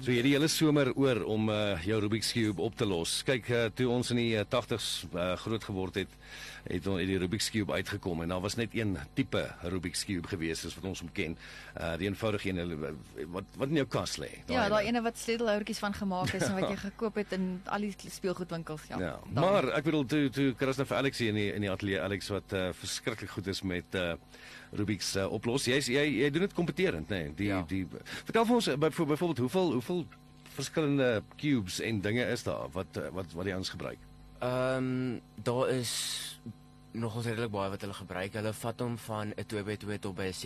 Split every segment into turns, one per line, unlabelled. So hierdie hele somer oor om uh, jou Rubik's Cube op te los. Kyk, uh, toe ons in die uh, 80's uh, groot geword het, het ons die Rubik's Cube uitgekom en daar was net een tipe Rubik's Cube gewees soos wat ons hom ken. Uh, die eenvoudige een hulle- wat wat in jou kas lê.
Ja, daai ene wat sleutelhouertjies van gemaak is en wat jy gekoop het in al die speelgoedwinkels, ja.
Ja,
daai.
maar ek bedoel toe toe Chris nou vir Alex hier in die, in die ateljee Alex wat uh, verskriklik goed is met uh, Rubik's uh, oplos. Jy jy jy doen dit kompeterend, nê. Nee, die ja.
Ja.
die vertel vir ons uh, byvo- byvoorbeeld hoeveel hoeveel verskillende cubes en dinge is daar wat uh, wat wat die ons gebruik.
Ehm daar is nogal redelik baie wat hulle gebruik. Hulle vat hom van 'n 2x2 tot by 'n 7x7.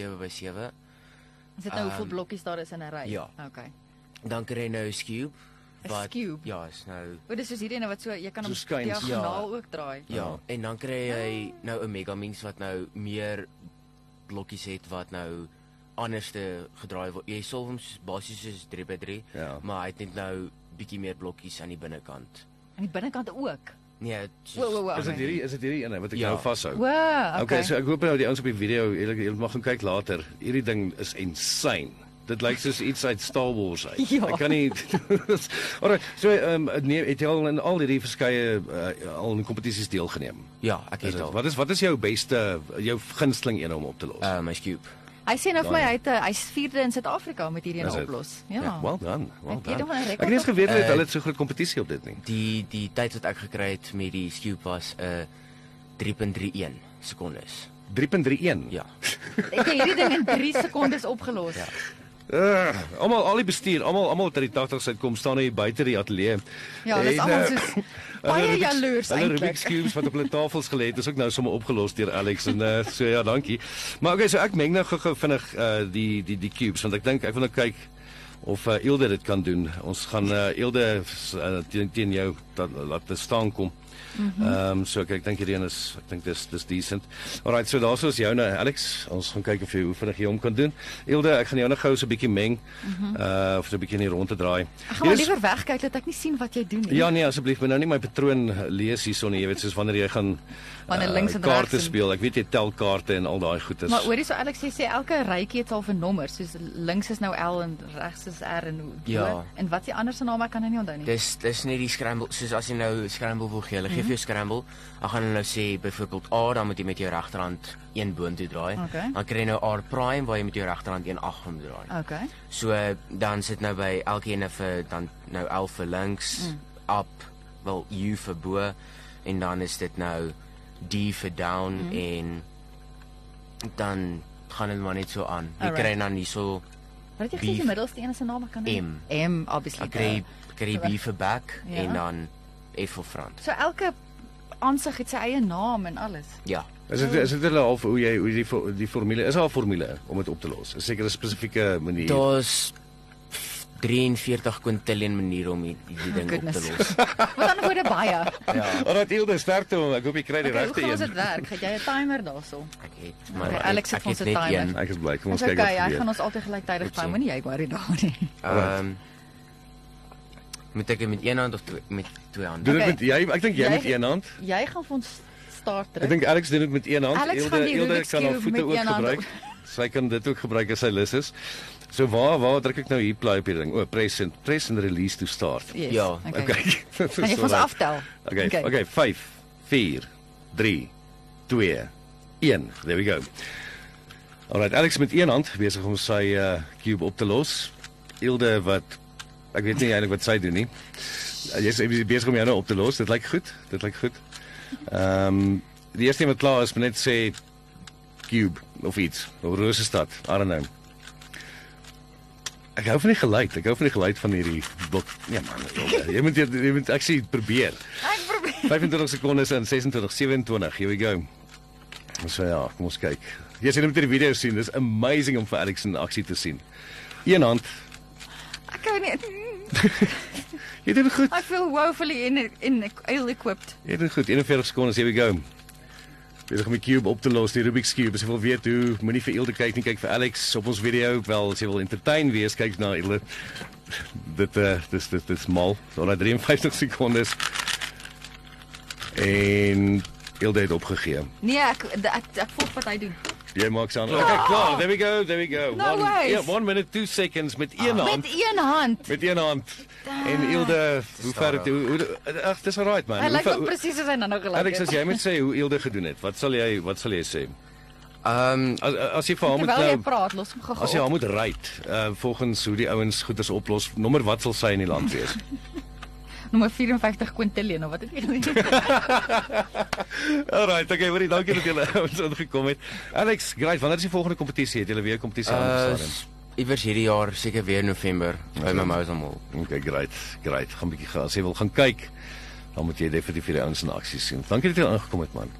Is dit nou hoeveel
ehm,
blokkies daar is in 'n ry?
ja.
Okay.
Dan kry jy nou 'n cube.
'n Cube?
Ja, is nou
O, dis soos hierdie ene wat so jy kan hom
So skuins, ja.
diagonaal ook draai.
ja,
Oh.
en dan kry jy nou 'n megaminx wat nou meer blokkies het wat nou anderste gedraai word. Jy sal hom soos- basies soos 3x3,
Ja.
maar hy het net nou bietjie meer blokkies aan die binnekant.
Aan die binnekant ook.
Nee,
Wo, wo,
soos,
wo.
Is dit hierdie is dit hierdie ene wat ek ja.
Ja.
nou vashou?
Wow, okay.
Okay, so ek hoop nou die ouens op die video, julle julle mag gaan kyk later. Hierdie ding is insane. Dit lyk soos iets uit Star Wars uit.
Ja.
Ek kan nie Alraai, so ehm um, nee, het jy al in al hierdie verskeie uh, al in kompetisies deelgeneem?
ja, ek
Is
het
dit
al.
wat is wat is jou beste jou gunsteling een om op te los?
Ehm my cube.
hy sê nou vir my hy het 'n- hy's vierde in Suid-Afrika met hierdie
Is
een
dit?
oplos.
Ja,
Ja.
well done. Well
Ek weet nog
done.
wel 'n
Ek het nie eens
rekord.
geweet uh,
Eh,
dat hulle so groot kompetisie op dit nie.
Die die tyd wat ek gekry het met die skew was 'n uh, 3.31 sekondes.
3.31.
Ja.
Ek het hierdie ding in 3 sekondes opgelos. Ja.
Uh, almal al die bestuur, almal almal ter die 80 se kom staan hier buite die ateljee.
Ja, dis
En,
almal
eh,
soos
hulle
baie
Rubik's-
jaloers
Hulle
eintlik.
Rubik's cubes wat op hulle tafels gelê het, is ook nou sommer opgelos deur Alex en uh, so ja, dankie. Maar okay, so ek meng nou gou-gou vinnig uh, die die die cubes want ek dink ek wil nou kyk of uh, Ilde dit kan doen. Ons gaan uh, Ilde uh, teen teen jou dat laat te staan kom. Ehm
Mhm.
mm um, so ek, ek dink hierdie een is ek dink dis dis decent. Alrite, so daar's ons jou nou Alex. Ons gaan kyk of jy hoe vinnig jy hom kan doen. Ilde, ek gaan jou nou gou so 'n bietjie meng. Uh of so 'n bietjie in die rond te draai.
Mhm. Ek gaan maar liewer wegkyk dat ek nie sien wat jy doen nie.
Ja nee asseblief, moet nou nie my patroon lees hierson nie, jy weet soos wanneer jy gaan eh,
Wanneer links en regs
Ja, kaarte
en-
speel. Ek weet jy tel kaarte en al daai goed is.
Maar hoorie so Alex jy sê elke rytjie het al 'n nommer, soos links is nou L en regs is R en hoe.
Ja.
hoe- En wat is die ander se naam? Ek kan dit nie onthou nie.
Dis dis net die scramble, soos as jy nou scramble wil gee, hulle gee vir jou scramble. Dan gaan hulle nou sê byvoorbeeld A, dan moet jy met jou regterhand een boontoe draai.
Okay.
Dan kry jy nou R prime waar jy met jou regterhand een agom draai.
Okay.
So eh, dan sit nou by elkeen vir dan nou L vir links, mm. up, wel U vir bo en dan is dit nou D vir down
Mhm.
mm. en dan gaan dit maar net so aan. Jy
Alright.
kry dan hierso
Wat het jy gesê die
Beef.
middelste een se naam ek kan nou nie.
M.
M obviously.
ek kry kry B vir back
Ja.
ja. en dan F vir front.
So elke aansig het sy eie naam en alles.
Ja.
is dit is dit hulle half hoe jy hoe die fo- die formule is haar formule om dit op te los. Is seker 'n spesifieke manier.
Daar's 43 kwintillion maniere om hierdie ding op te
Oh goodness.
los.
Wat dan word baie.
Ja. Alraai Hilde, sterkte hom. Ek hoop jy kry die
Okay, hoe
regte
gaan ons dit
een.
werk? Gaan jy 'n timer daarso?
Ek het maar
Okay,
ek-
Alex het
ek
ons 'n
net
timer.
een.
Ek is bly. Kom ons
Dis
kyk
okay,
wat
hy gaan
gebeur.
ons altyd gelyktydig
Goed
vou,
so.
moenie jy worry daaroor nie.
Ehm moet ek dit met een hand of twee, met twee hande?
Doen dit
Okay.
met jy ek dink jy
Jy-
met een hand.
Jy gaan vir ons start
Ek
terug.
dink Alex doen dit met een hand.
Alex gaan die Rubik's
kan haar
Cube
voete
met
ook
een hand
gebruik. Sy kan dit ook gebruik as sy lus is. So waar waar druk ek nou hier play op hierdie ding? O, press and press and release to start.
Yes,
Ja,
okay.
Okay. Dit is
Kan jy vir ons
alright.
aftel?
Okay. Okay, okay 5 4 3 2 1. There we go. Alright, Alex met een hand besig om sy uh cube op te los. Ilde wat ek weet nie eintlik wat sy doen nie. Uh, Jy's ewe besig om jou nou op te los. Dit lyk goed. Dit lyk goed. Ehm um, die eerste een wat klaar is, moet net sê cube of iets. Of Rosestad, I don't know. Ek hou van die geluid. Ek hou van die geluid van hierdie bot. Nee man, Ilde, jy moet jy, jy moet ek sê probeer.
Ek probeer.
25 sekondes in 26 27. Here we go. So ja, kom ons kyk. Jy sien hom ter video sien. Dis amazing om vir Alex in aksie te sien. Een hand.
Ek kan nie
Jy doen goed.
I feel woefully in in ill equipped.
Jy doen goed. 41 sekondes. Here we go. Besig om die cube op te los, die Rubik's cube. As jy wil weet hoe, moenie vir Ilde kyk nie, kyk vir Alex op ons video. Wel, as jy wil entertain wees, kyk na Ilde. Dit eh, dis dis dis mal. So na 53 sekondes. En Ilde het opgegee.
Nee, ek ek, ek volg wat hy doen.
Jy maak se aan. Okay, klaar. There we go. There we go.
No
one,
ways.
yeah, one minute 2 seconds met een hand.
Met een hand.
Met een hand. En Ilde, hoe ver het hoe hoe- ag, dis alright man.
Hy
Hoe
lyk
ver-
nog presies soos hy nou nou gelyk
Alex, as jy moet sê hoe Ilde gedoen het, wat sal jy wat sal jy sê?
Ehm
As as jy vir haar moet
Terwyl jy
nou
praat, los hom
as jy
gou.
haar moet ry, uh volgens hoe die ouens goeders oplos, nommer wat sal sy in die land wees?
op. Nommer 54 Quintillion of wat het jy?
Alright, okay, baie dankie dat julle ons ingekom het. Alex, great, wanneer is die volgende kompetisie? Het julle weer kompetisie
uh,
aangestadium?
iewers hierdie jaar seker weer November by Mimosa Mall.
Okay, great. Great. Gaan bietjie gaan. As jy wil gaan kyk, dan moet jy definitief vir die ouens in aksie sien. Dankie dat jy aangekom het man.